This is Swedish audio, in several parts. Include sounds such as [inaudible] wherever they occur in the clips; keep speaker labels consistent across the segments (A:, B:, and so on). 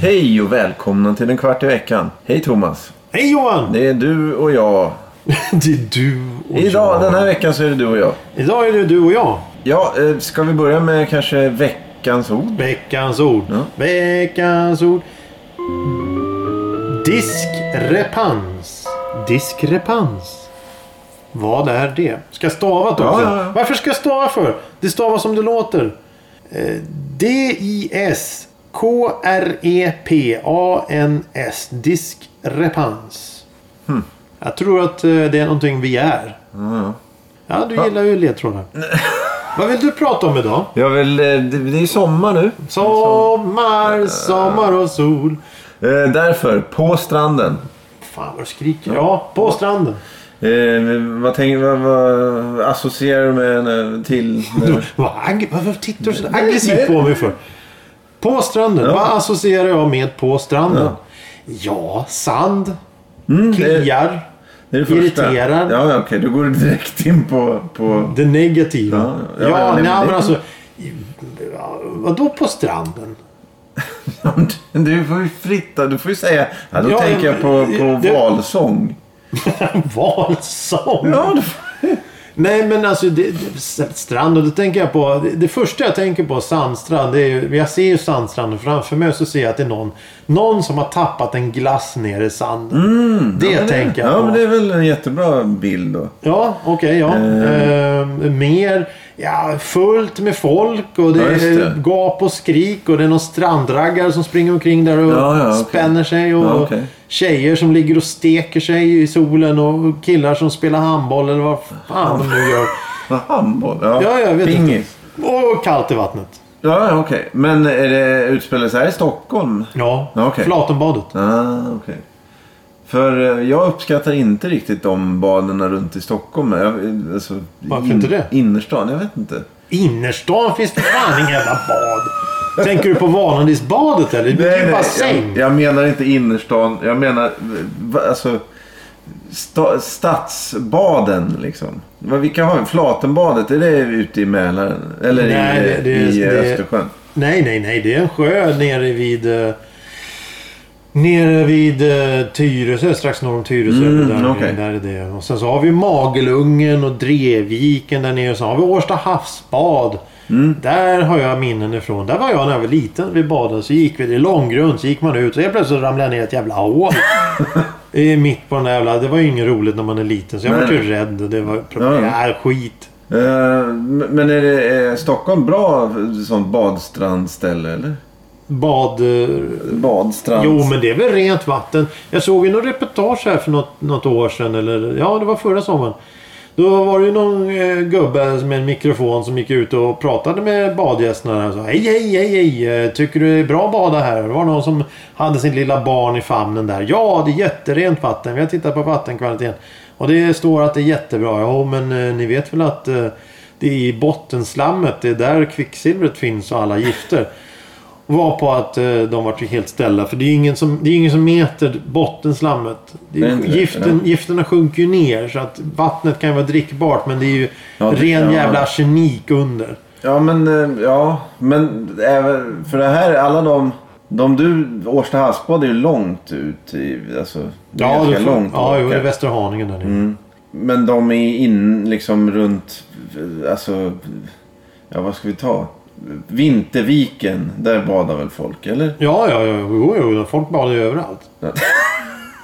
A: Hej och välkomna till en kvart i veckan. Hej Thomas.
B: Hej Johan!
A: Det är du och jag.
B: [laughs] Det är du och
A: Idag,
B: jag.
A: den här veckan, så är det du och jag.
B: Idag är det du och jag.
A: Ja, eh, ska vi börja med kanske veckans ord?
B: Veckans ord.
A: Mm. Ja.
B: Veckans ord. Diskrepans. Diskrepans. Vad är det? Ska jag stava det också?
A: Ja, ja, ja.
B: Varför ska jag stava för? Det stavas som det låter. Eh, D-I-S E K-R-E-P-A-N-S. Diskrepans.
A: Hmm.
B: Jag tror att eh, det är någonting vi är. Ja, du gillar ju
A: [laughs]
B: ledtrådar. Vad vill du prata om idag?
A: Jag vill, eh, det, det är ju sommar nu.
B: Sommar, sommar och sol.
A: Eh, därför, på stranden.
B: Fan vad du skriker. Ja, på stranden.
A: Eh, vad, tänker, vad, vad associerar du med när- [laughs] till?
B: Du,
A: När,
B: vad ag- varför tittar du så aggressivt på mig för? På stranden.
A: Ja.
B: Vad associerar jag med på stranden? Ja, sand.
A: Mm,
B: kliar.
A: det är det första.
B: Irriterad.
A: Ja, ja, okej. Då går du direkt in på... [laughs] på
B: Det negativa.
A: Ja,
B: Ja,
A: ja, ja, nej,
B: nej,
A: men
B: men,
A: det-
B: alltså. ja, Vadå på stranden? [laughs]
A: du får ju fritta. Du får ju säga... Ja, eh, då
B: Ja,
A: tänker jag på, på
B: det-
A: valsång.
B: Valsång.
A: Ja, du,
B: Nej men alltså det, det, strand och då tänker jag på. Det, det första jag tänker på sandstrand. Det är ju, jag ser ju sandstranden framför mig och så ser jag att det är någon, någon som har tappat en glass ner i sanden. det tänker jag
A: Mm. ja,
B: på.
A: men det är väl en jättebra bild då.
B: Ja, okej ja.
A: Eh.
B: Ehm, mer ja, fullt med folk och det
A: Ja, just
B: är
A: det.
B: gap och skrik och det är någon strandraggare som springer omkring där och
A: Ja, ja, okej.
B: spänner sig. Och
A: Ja, okej.
B: Tjejer som ligger och steker sig i solen och killar som spelar handboll eller vad fan de nu gör.
A: Vad, Handboll? Ja,
B: Ja, jag vet inte.
A: pingis.
B: Och kallt i vattnet.
A: Ja, ja, okej. Men är det, utspelar sig här i Stockholm?
B: Ja,
A: Ja, okej.
B: Flatenbadet.
A: Ah, okej. För eh, jag uppskattar inte riktigt de baderna runt i Stockholm. Jag, eh, alltså,
B: Varför inte det?
A: Innerstan, jag vet inte.
B: Innerstan finns det fan inga jävla bad. Tänker du på Vanadisbadet eller? Det är ju bassäng.
A: jag, jag menar inte innerstan. Jag menar eh, va- alltså sta, stadsbaden liksom. Vad- Vilka har vi? Flatenbadet, är det ute i Mälaren? Eller
B: Nej,
A: i,
B: det- det-
A: i eh,
B: det-
A: Östersjön?
B: Nej, nej, nej. Det är en sjö nere vid... eh, Nere vid eh, Tyresö, strax norr om Tyresö.
A: Mm,
B: där,
A: okej.
B: där är det. Och sen så har vi Magelungen och Drevviken där nere. Sen har vi Årsta havsbad.
A: Mm.
B: Där har jag minnen ifrån. Där var jag när jag var liten. Vi badade. Så gick vi. Det är långgrund. Så gick man ut och helt plötsligt ramlade jag ner i ett
A: [laughs]
B: jävla hål. I mitt på den där jävla... Det var ju inget roligt när man är liten. Så jag
A: Nej.
B: var ju rädd. och Det var...
A: Ja.
B: Ja, skit.
A: Eh, m- men är, det, är Stockholm bra som badstrandställe eller?
B: Bad... eh,
A: Badstrand?
B: Jo, men det är väl rent vatten. Jag såg ju något reportage här för något, något år sedan. Eller, ja, det var förra sommaren. Då var det ju någon eh, gubbe med en mikrofon som gick ut och pratade med badgästerna. Och sa, hej, hej, hej, hej. eh, Tycker du det är bra att bada här? Det var någon som hade sin lilla barn i famnen där. Ja, det är jätterent vatten. Vi har tittat på vattenkvaliteten. Och det står att det är jättebra. Ja, men eh, ni vet väl att eh, det är i bottenslammet. Det är där kvicksilvret finns och alla gifter var på att eh, de var helt ställa. För det är ju ingen som, det är ingen som mäter bottenslammet. Det är,
A: Det är inte det,
B: giften, gifterna sjunker ju ner så att vattnet kan ju vara drickbart men det är ju
A: Ja, det-
B: ren
A: ja.
B: jävla arsenik under.
A: Ja, men, eh, ja, men även för det här, alla de... De du, Årsta havsbad är ju långt ut i, alltså, det är ganska
B: du får-
A: långt Mm.
B: ja jo, det
A: åka.
B: är Västra Haninge där nere.
A: Men de är in, liksom runt, eh, alltså, ja vad ska vi ta? Vinterviken, där badar väl folk, eller?
B: Ja, ja, ja. Jo, jo. Folk badar ju överallt.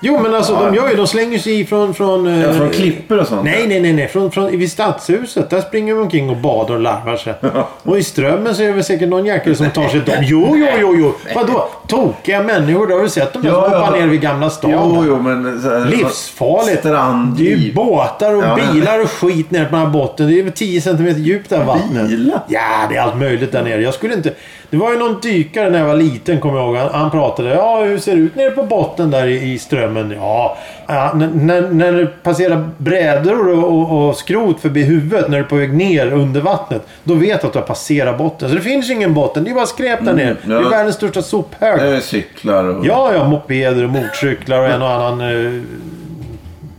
B: Jo, men alltså de gör ju. De slänger sig ifrån... Från, eh,
A: Ja, från klippor och sånt?
B: Nej, nej, nej. nej. Från, från, vid stadshuset, där springer de omkring och badar och larvar sig. Och i Strömmen så är det väl säkert någon jäkel som tar sig ett dopp. Jo, jo, jo, jo. Vadå? Tokiga människor. Det har du sett de där
A: Ja,
B: som
A: ja.
B: hoppar ner vid Gamla stan?
A: Jo, jo, men... Så här,
B: Livsfarligt.
A: Strand,
B: Det är ju båtar och
A: Ja, men-
B: bilar och skit nere på den här botten. Det är väl 10 centimeter djupt där vattnet.
A: Bilar?
B: Ja, det är allt möjligt där nere. Jag skulle inte... Det var ju någon dykare när jag var liten, kommer jag ihåg. Han, han pratade. Ja, hur ser det ut nere på botten där i, i det. Men ja, ja n- när, när du passerar brädor och, och, och skrot förbi huvudet när du är på väg ner under vattnet. Då vet du att du har passerat botten. Så det finns ju ingen botten. Det är bara skräp där nere. Det
A: ja.
B: är världens största sophög.
A: Det är cyklar och...
B: Ja, ja, mopeder och motorcyklar och en och annan... eh,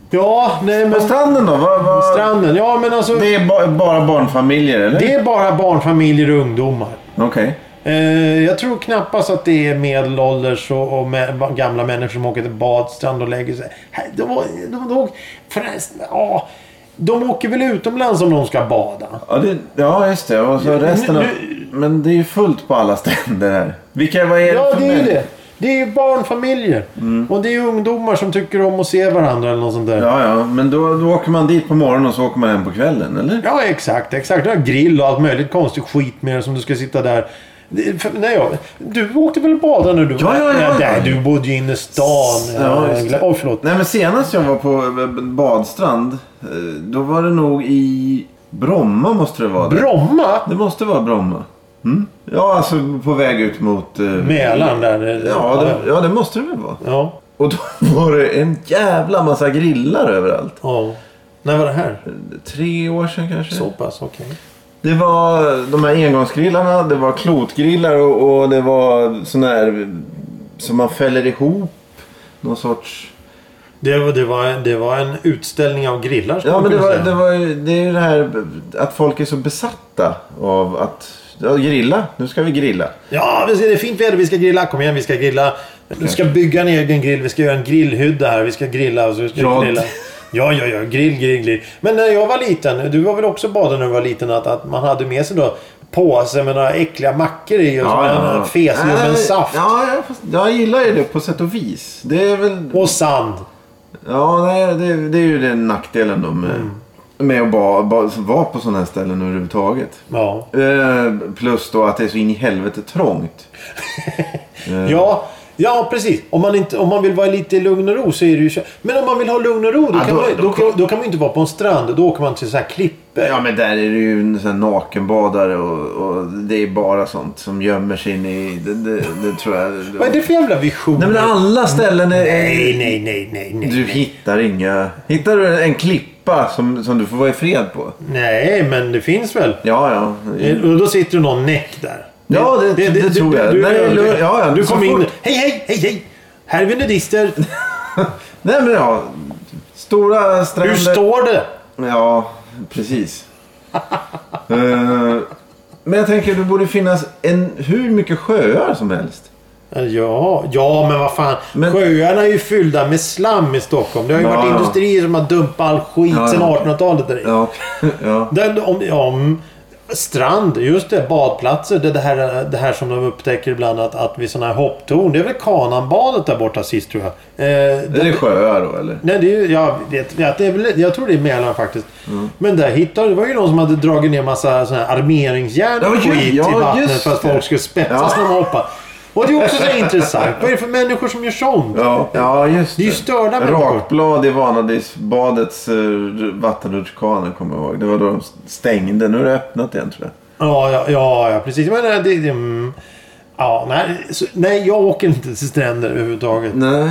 B: Ja, nej men...
A: På stranden då? Vad, vad...
B: Stranden, ja men alltså...
A: Det är ba- bara barnfamiljer eller?
B: Det är bara barnfamiljer och ungdomar.
A: Okej.
B: Eh, Jag tror knappast att det är medelålders och, och mä- gamla människor som åker till badstrand och lägger sig. Nej, De, de, de, de, förresten, ja, de åker väl utomlands om de ska bada.
A: Ja, det... ja, just det. Och så resten av...
B: nu-
A: Men det är ju fullt på alla [laughs] stränder här. Vilka, vad är det
B: Ja,
A: för
B: det är ju
A: människor?
B: det. Det är ju barnfamiljer. Och det är ungdomar som tycker om att se varandra eller något sånt där.
A: Ja, ja. Men då, då åker man dit på morgonen och så åker man hem på kvällen, eller?
B: Ja, exakt. exakt. Du har grill och allt möjligt konstigt skit med det som du ska sitta där. Det- för- Nej, jag, du åkte väl och badade när du
A: Ja, ja, ja, ja.
B: Nej, du bodde ju inne i stan.
A: Ja, just det.
B: Åh, förlåt.
A: Nej, men senast jag var på eh, badstrand, eh, då var det nog i Bromma måste det vara. det.
B: Bromma?
A: Det måste vara Bromma. Mm. Ja, alltså på väg ut mot... eh,
B: Mälaren där.
A: Ja, det, ja, det måste det väl vara.
B: ja.
A: Och då [laughs] var det en jävla massa grillar överallt.
B: ja. När var det här?
A: Tre år sedan kanske.
B: Så pass, okej.
A: Det var de här engångsgrillarna, det var klotgrillar och, och det var såna här som man fäller ihop. Någon sorts...
B: Det, var- det, var, det var en utställning av grillar skulle
A: Ja,
B: man
A: men det,
B: kunna
A: var,
B: säga.
A: det, var ju, det är ju det här att folk är så besatta av att ja, grilla. Nu ska vi grilla.
B: Ja, vi ska- det är fint väder. Vi ska grilla. Kom igen, vi ska grilla. Vi ska bygga en egen grill. Vi ska göra en grillhydda här. Vi ska grilla. Och så ska
A: Ja.
B: vi grilla. Ja, ja, ja. Grill, grill, grill. Men när jag var liten, du var väl också badare när du var liten, att, att man hade med sig då påse med några äckliga mackor i och så en fes med en
A: Nej,
B: saft.
A: Ja, jag, fast, jag gillar ju det på sätt och vis. Det är väl...
B: Och sand.
A: Ja, nej, det, det är ju den nackdelen då med,
B: Mm.
A: med att ba, ba, vara på sådana här ställen överhuvudtaget.
B: Ja.
A: Eh, plus då att det är så in i helvete trångt. Eh.
B: ja. Ja, precis. Om man, inte, om man vill vara lite i lugn och ro så är det ju... kö- Men om man vill ha lugn och ro, då,
A: Ja,
B: kan,
A: då-
B: man,
A: då-
B: då, kan, då kan man ju inte vara på en strand. Då åker man till så här klippor.
A: Ja men där är det ju en sån här nakenbadare och, och det är bara sånt som gömmer sig in i... Det, det, det tror
B: [laughs]
A: jag...
B: Vad är det för jävla vision?
A: Nej men alla ställen är...
B: nej, nej, nej, nej, nej.
A: Du hittar inga... Hittar du en klippa som, som du får vara i fred på?
B: Nej, men det finns väl. Eh,
A: Ja, ja.
B: Och då sitter det någon näck där.
A: Ja, det- det tror jag.
B: Du,
A: När det är
B: du,
A: lugn- ja, ja,
B: du
A: så
B: kom in.
A: fort-
B: Hej, hej, hej, hej! Här är vi nudister.
A: Nej men ja. Stora stränder.
B: Hur står det?
A: Ja, precis. Eh, men jag tänker att det borde finnas en, hur mycket sjöar som helst.
B: Eh, Ja, ja, men vad fan.
A: Men-
B: Sjöarna är ju fyllda med slam i Stockholm. Det har ju
A: Ja,
B: varit
A: ja.
B: industrier som har dumpat all skit
A: Ja, ja.
B: sedan 1800-talet. där i.
A: Ja, ja.
B: Den, om, ja, om, strand, just det. Badplatser. Det, det, här, det här som de upptäcker ibland att, att vid sådana här hopptorn. Det är väl Kananbadet där borta sist tror jag. Eh,
A: Är det sjöar då eller?
B: Nej, det är ju, jag, vet, jag, det är väl, jag tror det är Mälaren faktiskt.
A: Mm.
B: Men där hittade det var ju någon som hade dragit ner massa sån här armeringsjärn och
A: Ja, ju-
B: skit
A: ja,
B: i vattnet
A: just
B: för att
A: det.
B: folk skulle
A: Ja.
B: spetsas när de hoppade. Och det är också så här intressant. Vad är det för människor som gör sånt?
A: Ja, ja just
B: Det är ju störda människor.
A: Rakblad i Vanadisbadets uh, vattenrutschkana kommer jag ihåg. Det var då de stängde. Nu är det öppnat igen tror jag.
B: Ja, ja, ja, ja precis. Men det, det, mm, ja, nej, så, nej, jag åker inte till stränder överhuvudtaget.
A: Nej.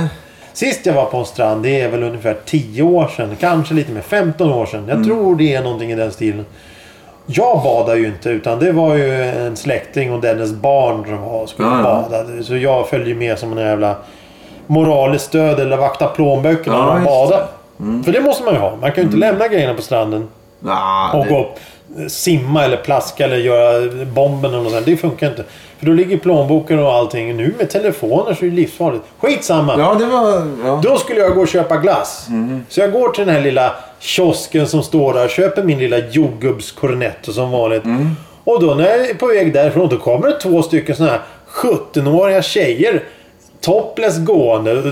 B: Sist jag var på en strand, det är väl ungefär 10 år sedan. Kanske lite mer, 15 år sedan. Jag
A: Mm.
B: tror det är någonting i den stilen. Jag badar ju inte, utan det var ju en släkting och dennes barn som var, skulle
A: Ja, ja.
B: bada. Så jag följde ju med som en jävla moraliskt stöd eller vakta plånböckerna
A: Ja,
B: när man
A: just Mm.
B: badar. För det måste man ju ha. Man kan ju inte lämna grejerna på stranden
A: Ah,
B: och
A: det-
B: gå upp, simma eller plaska eller göra bomben eller något sånt. Det funkar inte. För då ligger plånboken och allting. Nu med telefoner så är det livsfarligt. Skitsamma!
A: Ja, det var... Ja.
B: Då skulle jag gå och köpa glass.
A: Mhm.
B: Så jag går till den här lilla kiosken som står där. Köper min lilla jordgubbskornetto som vanligt.
A: Mm.
B: Och då när jag är på väg därifrån då kommer det två stycken såna här 17-åriga tjejer. Topless gående. Och Det,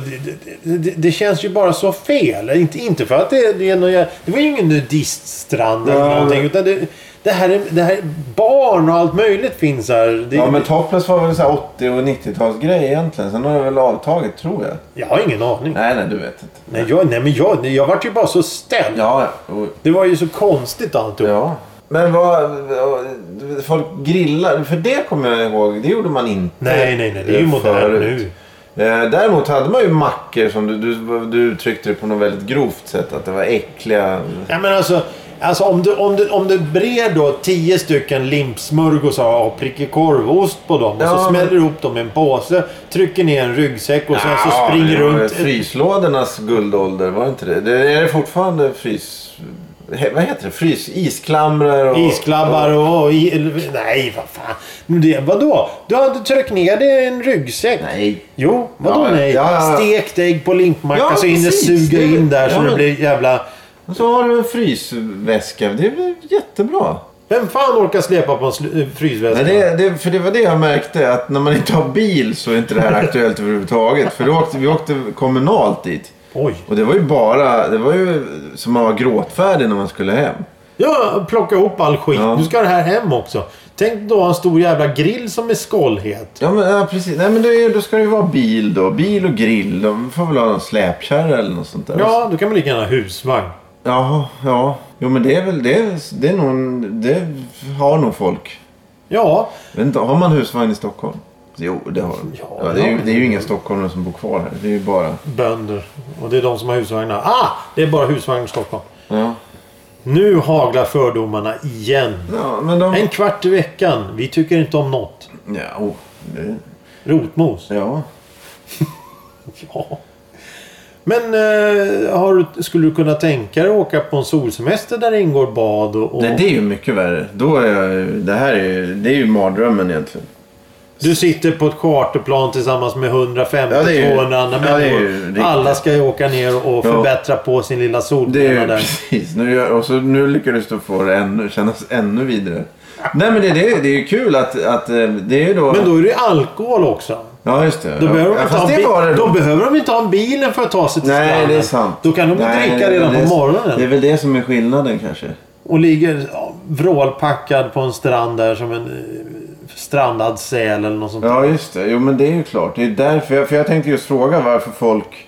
B: det, det, det känns ju bara så fel. Inte, inte för att det, det är någon, jä- Det var ju ingen nudiststrand eller
A: Ja,
B: någonting. Utan det, det, här är, det här är barn och allt möjligt finns här. Det,
A: Ja, men topless var väl så här 80 och 90-talsgrej egentligen. Sen har det väl avtagit tror jag.
B: Jag har ingen aning.
A: Nej, nej, du vet inte.
B: Nej, jag, nej men jag, jag vart ju bara så ställd.
A: Ja, ja.
B: Det var ju så konstigt alltihop.
A: Ja. Men vad... Folk grillar. För det kommer jag ihåg. Det gjorde man inte.
B: Nej, nej, nej. Det är ju
A: eh,
B: modernt
A: förut.
B: nu.
A: Eh, Däremot hade man ju mackor som du, du, du uttryckte det på något väldigt grovt sätt. Att det var äckliga.
B: Ja, men alltså, alltså om, du, om, du, om du brer då tio stycken limpsmörgåsar och prickig korvost på dem och
A: Ja,
B: så
A: men-
B: smäller du ihop dem i en påse, trycker ner en ryggsäck och sen så
A: Ja,
B: springer
A: det var
B: runt...
A: Fryslådornas guldålder, var det inte det? det är det fortfarande frys... he- Vad heter det? Frys... Isklamrar och...
B: Isklabbar och... och i, nej, vad fan. Men Det, vadå? Du hade tryckt ner det i en ryggsäck.
A: Nej.
B: Jo, vadå
A: Ja, ja.
B: nej?
A: Ja, ja, ja.
B: Stekt ägg på limpmacka
A: Ja,
B: så hinner
A: precis.
B: suga
A: Det-
B: in där så
A: ja,
B: det
A: men-
B: blir jävla...
A: Och så har du en frysväska. Det är väl jättebra.
B: Vem fan orkar släpa på en sl- eh, frysväska?
A: Nej, det, det, för det var det jag märkte. Att när man inte har bil så är inte det här aktuellt överhuvudtaget. För då åkte, vi åkte kommunalt dit.
B: Oj.
A: Och det var ju bara... Det var ju som man var gråtfärdig när man skulle hem.
B: Ja, plocka ihop all skit.
A: Ja.
B: Nu ska det här hem också. Tänk då en stor jävla grill som är skållhet.
A: Ja, men, ja precis. Nej, men då, är, då ska det ju vara bil då. Bil och grill. De får väl ha någon släpkärra eller något sånt där.
B: Ja, då kan man lika gärna ha husvagn.
A: Jaha, ja. Jo, men det är väl... Det, är- det, är nog, en- det har nog folk.
B: Ja,
A: Jag vet inte, har man husvagn i Stockholm? Jo, det har de.
B: Ja,
A: Ja, det, är ju,
B: ja.
A: det är ju inga stockholmare som bor kvar här. Det är ju bara...
B: bönder. Och det är de som har husvagnar. Ah! Det är bara husvagn i Stockholm.
A: Ja.
B: Nu haglar fördomarna igen.
A: Ja, men de...
B: En kvart i veckan. Vi tycker inte om något.
A: Ja, oh, det...
B: Rotmos.
A: ja.
B: Ja. Men eh, har, du- skulle du kunna tänka dig att åka på en solsemester där det ingår bad och... och
A: Nej, det är ju mycket värre. Då är jag, ju- det här är ju, det är ju mardrömmen egentligen.
B: Du sitter på ett charterplan tillsammans med 150-200
A: Ja, det är ju-
B: andra
A: ja, det är ju
B: människor.
A: riktigt.
B: Alla ska ju åka ner och
A: Ja.
B: förbättra på sin
A: Det
B: lilla
A: är
B: solbränna
A: ju
B: där.
A: precis. Nu, gör- och så, nu lyckades du få det ännu, kännas ännu vidare. Nej men det, det, är- det är ju kul att, att eh, det är ju då...
B: Men då är det ju alkohol också.
A: Ja just det.
B: Då,
A: ja.
B: behöver, de
A: ja,
B: inte ha
A: fast det
B: bi-
A: var det
B: då
A: då.
B: behöver de inte ha en bilen för att ta sig till
A: Nej
B: stranden.
A: det är sant.
B: Då kan de
A: Nej,
B: dricka
A: det är
B: redan
A: väl
B: på
A: det-
B: morgonen.
A: Det är väl det som är skillnaden kanske.
B: Och ligger ja, vrålpackad på en strand där som en eh, strandad säl eller något sånt.
A: Ja just det. Jo men det är ju klart. Det är därför jag, för jag tänkte just fråga varför folk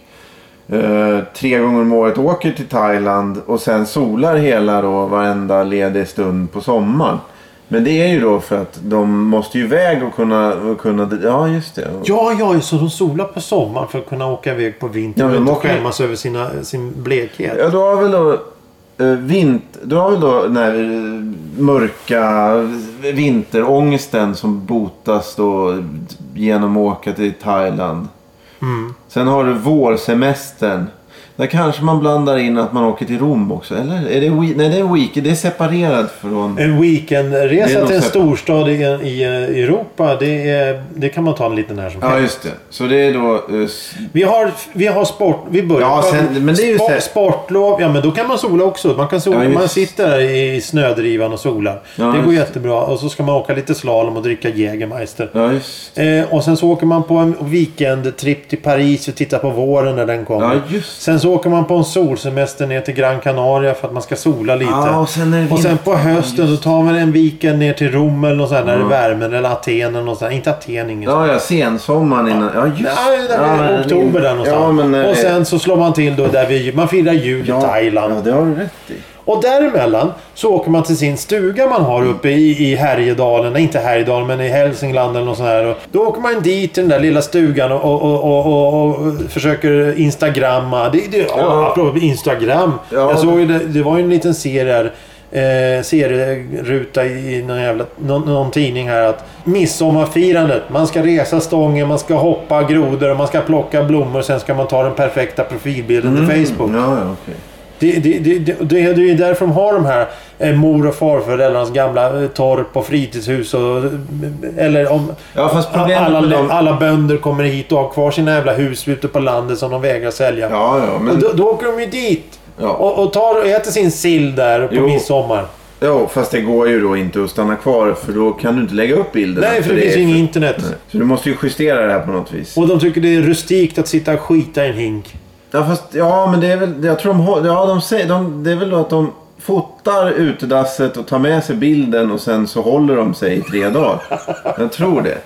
A: eh, tre gånger om året åker till Thailand och sen solar hela då varenda ledig stund på sommaren. Men det är ju då för att de måste ju iväg och kunna... Och kunna ja just det.
B: Ja, ja, så de solar på sommaren för att kunna åka iväg på
A: Ja,
B: vintern
A: men
B: och
A: de
B: inte
A: åker-
B: skämmas över sina, sin blekhet.
A: Ja, du har väl då eh, vint, du har väl då den här eh, mörka vinterångesten som botas då genom att åka till Thailand.
B: Mm.
A: Sen har du vårsemestern. Där kanske man blandar in att man åker till Rom också. Eller? Är det, we- nej, det är week, det är separerat
B: [laughs]
A: från...
B: En
A: Det är
B: weekendresa
A: nog
B: till en
A: så-
B: storstad i, i eh, Europa, det, är, det kan man ta en liten när som
A: Ja,
B: helst.
A: just det. Så det är då... eh, s-
B: Vi har, vi har sport... Vi börjar
A: Ja, sen- men det är ju
B: Spo-
A: så här-
B: Sportlov, ja men då kan man sola också. Man, kan sola,
A: Ja, just.
B: man sitter där i snödrivan och solar.
A: Ja,
B: det går
A: just.
B: jättebra. Och så ska man åka lite slalom och dricka Jägermeister.
A: Ja, just
B: Eh, och sen så åker man på en weekendtrip till Paris och tittar på våren när den kommer.
A: Ja, just.
B: Sen så åker man på en solsemester ner till Gran Canaria för att man ska sola lite.
A: Ja, och sen är det
B: Och sen
A: vinter.
B: på hösten då tar man en weekend ner till Rom eller något sånt där, där det är värmen eller Aten eller något sånt. Inte Aten, inget
A: Ja, ja, sensommaren innan. Ja, just
B: Nej, det
A: Ja,
B: är
A: men-
B: oktober där
A: Ja,
B: någonstans.
A: men, eh,
B: och sen så slår man till då där vi, man firar jul i
A: ja,
B: Thailand.
A: Ja, det har du rätt i.
B: Och däremellan så åker man till sin stuga man har uppe i, i Härjedalen. Nej, inte Härjedalen, men i Hälsingland eller något sånt här. Och Då åker man dit till den där lilla stugan och, och, och, och, och, och försöker instagramma. Det, det, ja.
A: Ja.
B: apropå Instagram.
A: Ja.
B: Jag såg ju det, det var ju en liten serie här. Eh, serieruta i någon, jävla, någon, någon tidning här att midsommarfirandet, man ska resa stången, man ska hoppa grodor, man ska plocka blommor, sen ska man ta den perfekta profilbilden
A: Mm.
B: till Facebook.
A: Ja, ja, okej.
B: Det, det, det, det, det är ju därför de har de här eh, mor och farföräldrarnas gamla eh, torp och fritidshus. Och, eh, eller om
A: Ja, fast
B: a-
A: problemet
B: alla,
A: med dem...
B: alla bönder kommer hit och har kvar sina jävla hus ute på landet som de vägrar sälja.
A: Ja, ja,
B: Och
A: men...
B: då, då åker de ju dit
A: Ja.
B: och, och tar och äter sin sill där på
A: Jo.
B: midsommar.
A: Jo, fast det går ju då inte att stanna kvar för då kan du inte lägga upp bilderna.
B: Nej, för det finns
A: är-
B: ju inget internet.
A: Så du måste ju justera det här på något vis.
B: Och de tycker det är rustikt att sitta och skita i en hink.
A: Ja, fast, ja men det är väl... Jag tror de har... Ja, de säger... De, det är väl då att de fotar utedasset och tar med sig bilden och sen så håller de sig i tre dagar. Jag tror det.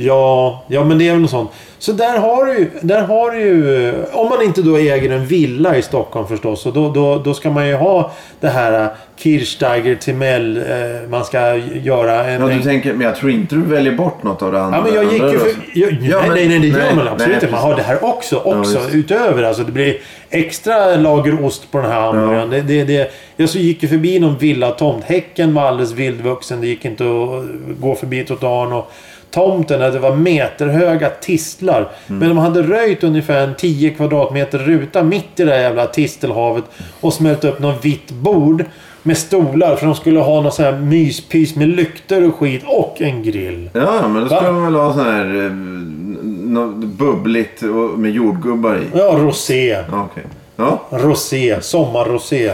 B: Ja, ja men det är väl något sånt. Så där har du ju... Där har du ju om man inte då äger en villa i Stockholm förstås. Och då, då, då ska man ju ha det här eh, Kirchsteiger, Timell. Eh, man ska göra en...
A: Ja, du
B: en
A: tänker, men jag tror inte du väljer bort något av det andra.
B: Ja, men jag gick ju
A: andra
B: för...
A: rösten.
B: Jag,
A: Ja,
B: nej,
A: men-
B: nej, nej, det gör
A: nej,
B: man absolut
A: nej,
B: inte. Man har det här också. också
A: visst.
B: utöver. Alltså, det blir extra lager ost på den här hamburgaren. Det, det, det, jag så gick ju förbi någon villatomt. Häcken var alldeles vildvuxen. Det gick inte att gå förbi trottoaren. Och tomten, där det var meterhöga tistlar.
A: Mm.
B: Men de hade röjt ungefär en 10 kvadratmeter ruta mitt i det här jävla tistelhavet. Och smält upp något vitt bord. Med stolar, för de skulle ha någon sån här myspys med lyktor och skit. Och en grill.
A: Ja, men då
B: Va?
A: skulle man väl ha sån här... eh, n- Något bubbligt och, med jordgubbar i.
B: Ja, rosé.
A: Ja, okej. Ja.
B: Rosé,
A: [laughs]
B: sommarrosé.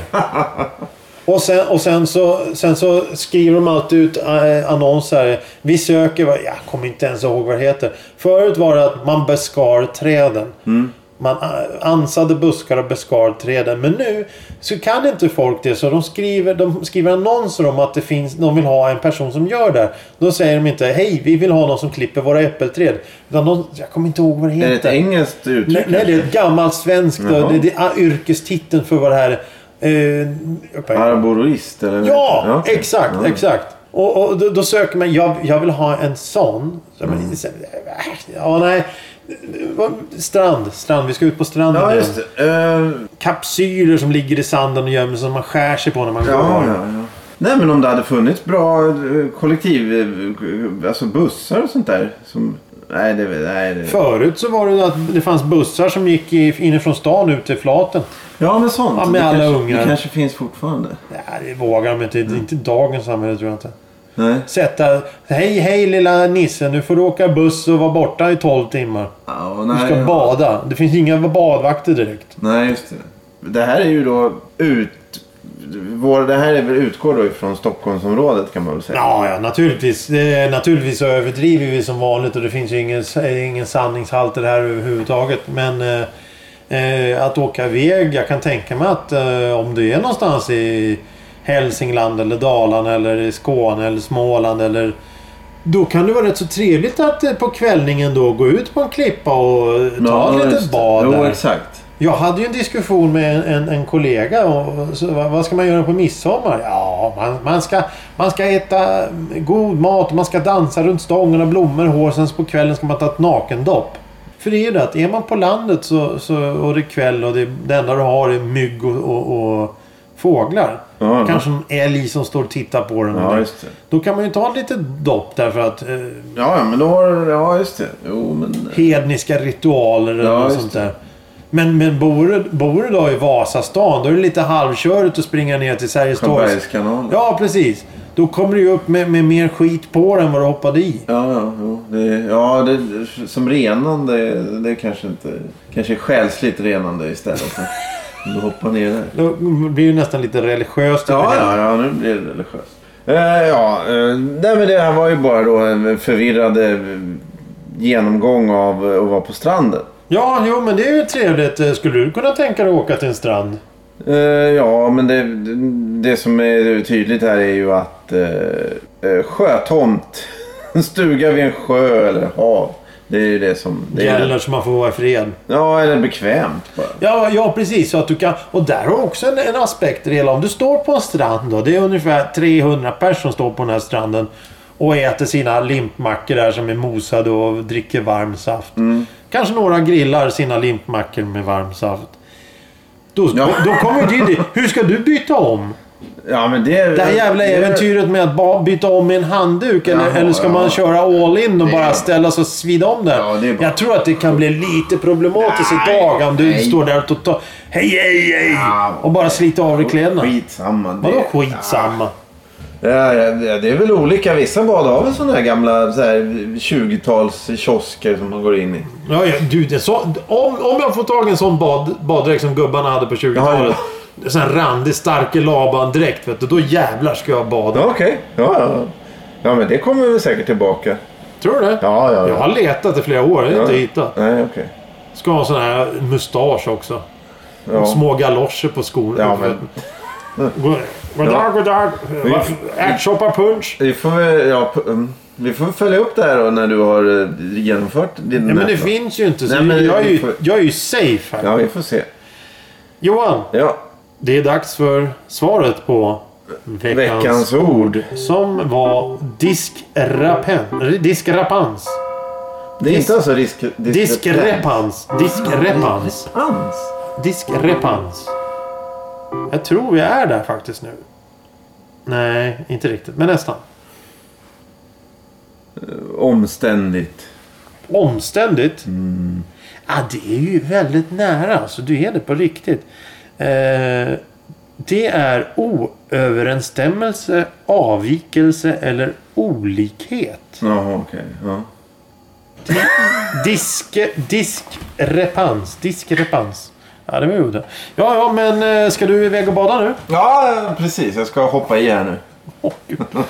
B: Och sen, och sen, så, sen så skriver de alltid ut eh, annonser. Vi söker, vad- jag kommer inte ens ihåg vad det heter. Förut var det att man beskar träden.
A: Mm.
B: Man eh, ansade buskar och beskar träden. Men nu så kan inte folk det. Så de skriver, de skriver annonser om att det finns, de vill ha en person som gör det. Då säger de inte hej, vi vill ha någon som klipper våra äppelträd. Utan de, jag kommer inte ihåg vad det
A: Är
B: heter.
A: det ett engelskt uttryck?
B: Nej, nej, det är ett gammalt svenskt.
A: Jaha.
B: Det, det är yrkestiteln för vad det här... Eh, uppe-
A: Arborist eller? vad
B: ja,
A: heter det? okej.
B: exakt,
A: Ah, Ja.
B: exakt. Och, och då, då söker man, jag, jag vill ha en sån. Så, men,
A: Mm.
B: sen- äh, ja, nej. Vad- Strand, strand. Vi ska ut på stranden
A: Ja,
B: igen.
A: just det. Eh,
B: Kapsyler som ligger i sanden och gömmer sig som man skär sig på när man
A: ja,
B: går.
A: ja, ja. Nej, men om det hade funnits bra eh, kollektiv... eh, Alltså bussar och sånt där. Som, nej, det... Nej, det
B: Förut så var det ju att det fanns bussar som gick i- inifrån stan ut till flaten.
A: ja, men sånt.
B: Ja, med
A: det,
B: alla
A: kanske,
B: ungar.
A: det kanske finns fortfarande.
B: Nej, det vågar de inte.
A: Mm.
B: Det är inte dagens samhälle tror jag inte.
A: Nej.
B: sätta... Hej, hej lilla Nisse. Nu får du åka buss och vara borta i 12 timmar.
A: Ja, och
B: Du
A: nej,
B: ska bada. Det finns inga badvakter direkt.
A: Nej, just det. Det här är ju då ut... Vår, det här är väl utgår då ifrån Stockholmsområdet kan man väl säga.
B: Ja, ja, naturligtvis. Eh, naturligtvis så överdriver vi som vanligt och det finns ju ingen, eh, ingen sanningshalt i det här överhuvudtaget. Men eh, eh, att åka iväg, jag kan tänka mig att eh, om du är någonstans i Hälsingland eller Dalarna eller i Skåne eller Småland eller då kan det vara rätt så trevligt att eh, på kvällningen då gå ut på en klippa och eh, ta ett
A: just
B: litet
A: det.
B: bad
A: Jo,
B: där.
A: exakt.
B: Jag hade ju en diskussion med en, en, en kollega. Och, och så, vad, vad ska man göra på midsommar? Ja, man, man, ska, man ska äta god mat, man ska dansa runt stången och blommor, hår. Sen på kvällen ska man ta ett nakendopp. För det är ju det att är man på landet så, så, och det är kväll och det, det enda du har är mygg och, och, och fåglar.
A: Ja, ja.
B: Kanske en älg som står och tittar på den.
A: Ja, just det.
B: Då kan man ju ta ett litet dopp därför att eh,
A: Ja, ja, men då har du... Ja, just det. Jo, men...
B: hedniska ritualer eller
A: Ja,
B: något
A: just
B: sånt där. Men, men bor, du- bor du då i Vasastan, då är det lite halvkörigt att springa ner till Sergels torg.
A: Sjöbergskanalen. Ja.
B: Ja, precis. Då kommer du ju upp med, med mer skit på den än vad du hoppade i.
A: Ja, ja, jo, det, ja det, som renande, det kanske inte... Kanske är själsligt renande istället. Om du hoppar ner där.
B: Då blir det nästan lite religiöst.
A: Ja, ja, ja, nu blir det religiöst. Eh, ja, eh, nej men det här var ju bara då en förvirrad eh, genomgång av eh, att vara på stranden.
B: ja, jo, men det är ju trevligt. Eh, Skulle du kunna tänka dig att åka till en strand?
A: Eh, ja, men det, det som är tydligt här är ju att eh, eh, sjötomt, [laughs] en stuga vid en sjö eller hav. Det är ju det som... Det är,
B: Gäller så man får vara i fred.
A: Ja, eller bekvämt bara.
B: Ja, ja precis. Så att du kan, och där har också en, en aspekt i det hela. Om du står på en strand då. Det är ungefär 300 personer som står på den här stranden. Och äter sina limpmackor där som är mosade och dricker varm saft. Kanske några grillar sina limpmackor med varm saft. Då,
A: Ja.
B: då kommer ju din... Hur ska du byta om?
A: Ja, men det...
B: Det här jävla
A: det-
B: äventyret med att ba- byta om med en handduk eller,
A: Jaha,
B: eller ska man
A: ja.
B: köra all in och
A: Det-
B: bara ställa sig och svida om den?
A: Ja, det är bara-
B: Jag tror att det kan bli lite problematiskt
A: Nej,
B: idag om du
A: nej.
B: står där och totalt... Hej, hej, hej!
A: Ja,
B: Och bara sliter av dig kläderna.
A: Skitsamma. det-
B: Vadå skitsamma?
A: Ja, ja, det det är väl olika. Vissa bad har väl sådana här gamla så här, 20-tals kiosker som man går in i.
B: Ja, ja, du, det är så, om, om jag får tag i en sån bad, baddräkt som gubbarna hade på 20-talet. Sån här randig, starke Laban-dräkt. vet du, Då jävlar ska jag bada.
A: Ja, okej. Ja, ja. ja, men det kommer väl säkert tillbaka.
B: Tror du det?
A: Ja, ja, ja.
B: Jag har letat i flera år. Jag har inte hittat.
A: Nej, okej.
B: Ska ha en sån här mustasch också.
A: Ja.
B: Små galoscher på skorna.
A: Ja, men-
B: God- God dag, god dag. Ärtsoppa punch.
A: Vi får väl... Ja, p- mm. Vi får följa upp det här då när du har eh, genomfört din
B: Nej, men det
A: nätverk.
B: finns ju inte. Så
A: Nej, men
B: jag, är
A: vi
B: ju,
A: får-
B: jag är ju safe här.
A: Ja, vi får se.
B: Johan,
A: Ja,
B: det är dags för svaret på veckans,
A: veckans ord.
B: Som var diskrapen, diskrapans.
A: Det är inte alltså risk...
B: Diskrepans. Diskrepans.
A: Diskrepans.
B: Diskrepans. Jag tror vi är där faktiskt nu. Nej, inte riktigt. Men nästan.
A: Omständigt.
B: Omständigt.
A: Mm.
B: Ah, det är ju väldigt nära. Alltså, du är det på riktigt. Eh, det är oöverensstämmelse, avvikelse eller olikhet.
A: Jaha, okej. Ja.
B: Diske, diskrepans. Diskrepans. Ja, det var ju det. Ja, ja, men eh, ska du iväg och bada nu?
A: ja, precis. Jag ska hoppa i här nu.
B: Åh, Gud. ja,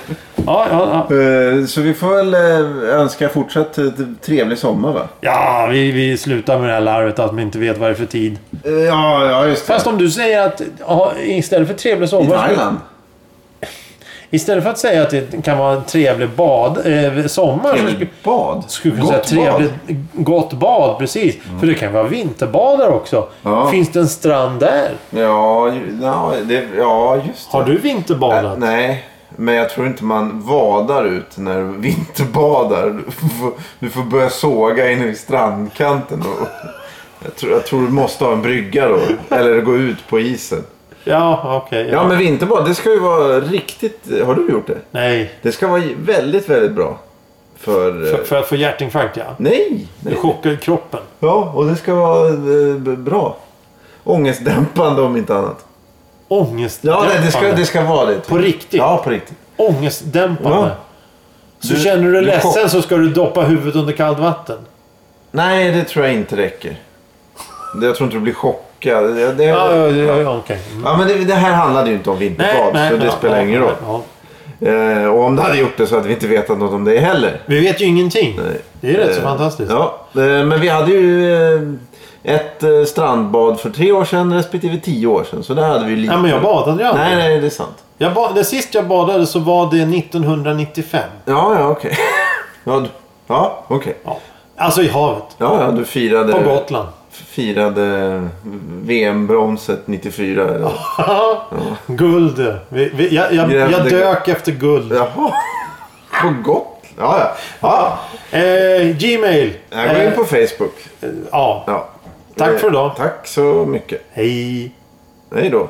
B: ja, ja.
A: Eh, Så vi får väl eh, önska fortsatt eh, trevlig sommar va?
B: ja vi, vi slutar med det här larvet att man inte vet vad det är för tid.
A: Eh, Ja, ja just det.
B: Fast om du säger att ja, istället för trevlig
A: I
B: sommar...
A: Thailand.
B: Istället för att säga att det kan vara en trevlig bad, eh, sommar så skulle-
A: Trevligt bad.
B: skulle vi
A: Gott
B: säga trevligt
A: bad.
B: gott bad. Precis. För det kan vara vinterbadare också.
A: Ja.
B: Finns det en strand där?
A: Ja, ju- ja, det, ja just det.
B: Har du vinterbadat?
A: Äh, nej, men jag tror inte man vadar ut när du vinterbadar. Du får, du får börja såga in vid strandkanten. Och, jag, tror, jag tror du måste ha en brygga då. Eller gå ut på isen.
B: Ja, okej. ja.
A: Ja, men vinterbad, det ska ju vara riktigt... Har du gjort det?
B: Nej.
A: Det ska vara väldigt, väldigt bra. För... eh,
B: För, för att få hjärtinfarkt, ja.
A: Nej!
B: Det
A: nej.
B: chockar ju kroppen.
A: Ja, och det ska vara eh, b- bra. Ångestdämpande om inte annat. Ja,
B: Ångestdämpande.
A: nej, det, ska, det ska vara det.
B: På riktigt?
A: Ja, på riktigt.
B: Ångestdämpande.
A: Ja.
B: Så
A: Du-
B: känner du dig
A: du
B: ledsen så ska du doppa huvudet under kallt vatten.
A: Nej, det tror jag inte räcker. Det- Jag tror inte du blir chockad. Det, det, ja,
B: Ja, ja, ja, ja okej. Mm.
A: men det, det här handlade ju inte om vinterbad, så det
B: ja,
A: spelar
B: ja,
A: ingen roll.
B: ja.
A: Eh, och om det hade gjort det så hade vi inte vetat något om det heller.
B: Vi vet ju ingenting.
A: Nej.
B: Det är ju rätt så
A: Eh,
B: fantastiskt.
A: Ja, eh, men vi hade ju eh, ett eh, strandbad för tre år sedan respektive tio år sedan. Så där hade vi ju lite...
B: Nej, men jag badade ju aldrig.
A: Nej, nej, det är sant.
B: Jag ba- det sist jag badade så var det 1995.
A: Ja, ja, okej. [laughs] ja, du- ja, okej.
B: Ja. Alltså i havet.
A: Ja, ja, du firade...
B: På
A: [laughs]
B: Gotland.
A: Firade VM-bromset 94. Eller?
B: guld. Vi, vi, jag, jag, jag
A: Grävde-
B: dök efter guld.
A: Jaha. På gott. Ja, ja. ja.
B: Eh, Gmail.
A: Jag går in
B: Eh,
A: på Facebook.
B: ja.
A: Ja.
B: Tack för idag.
A: Tack så mycket.
B: Hej.
A: Hej då.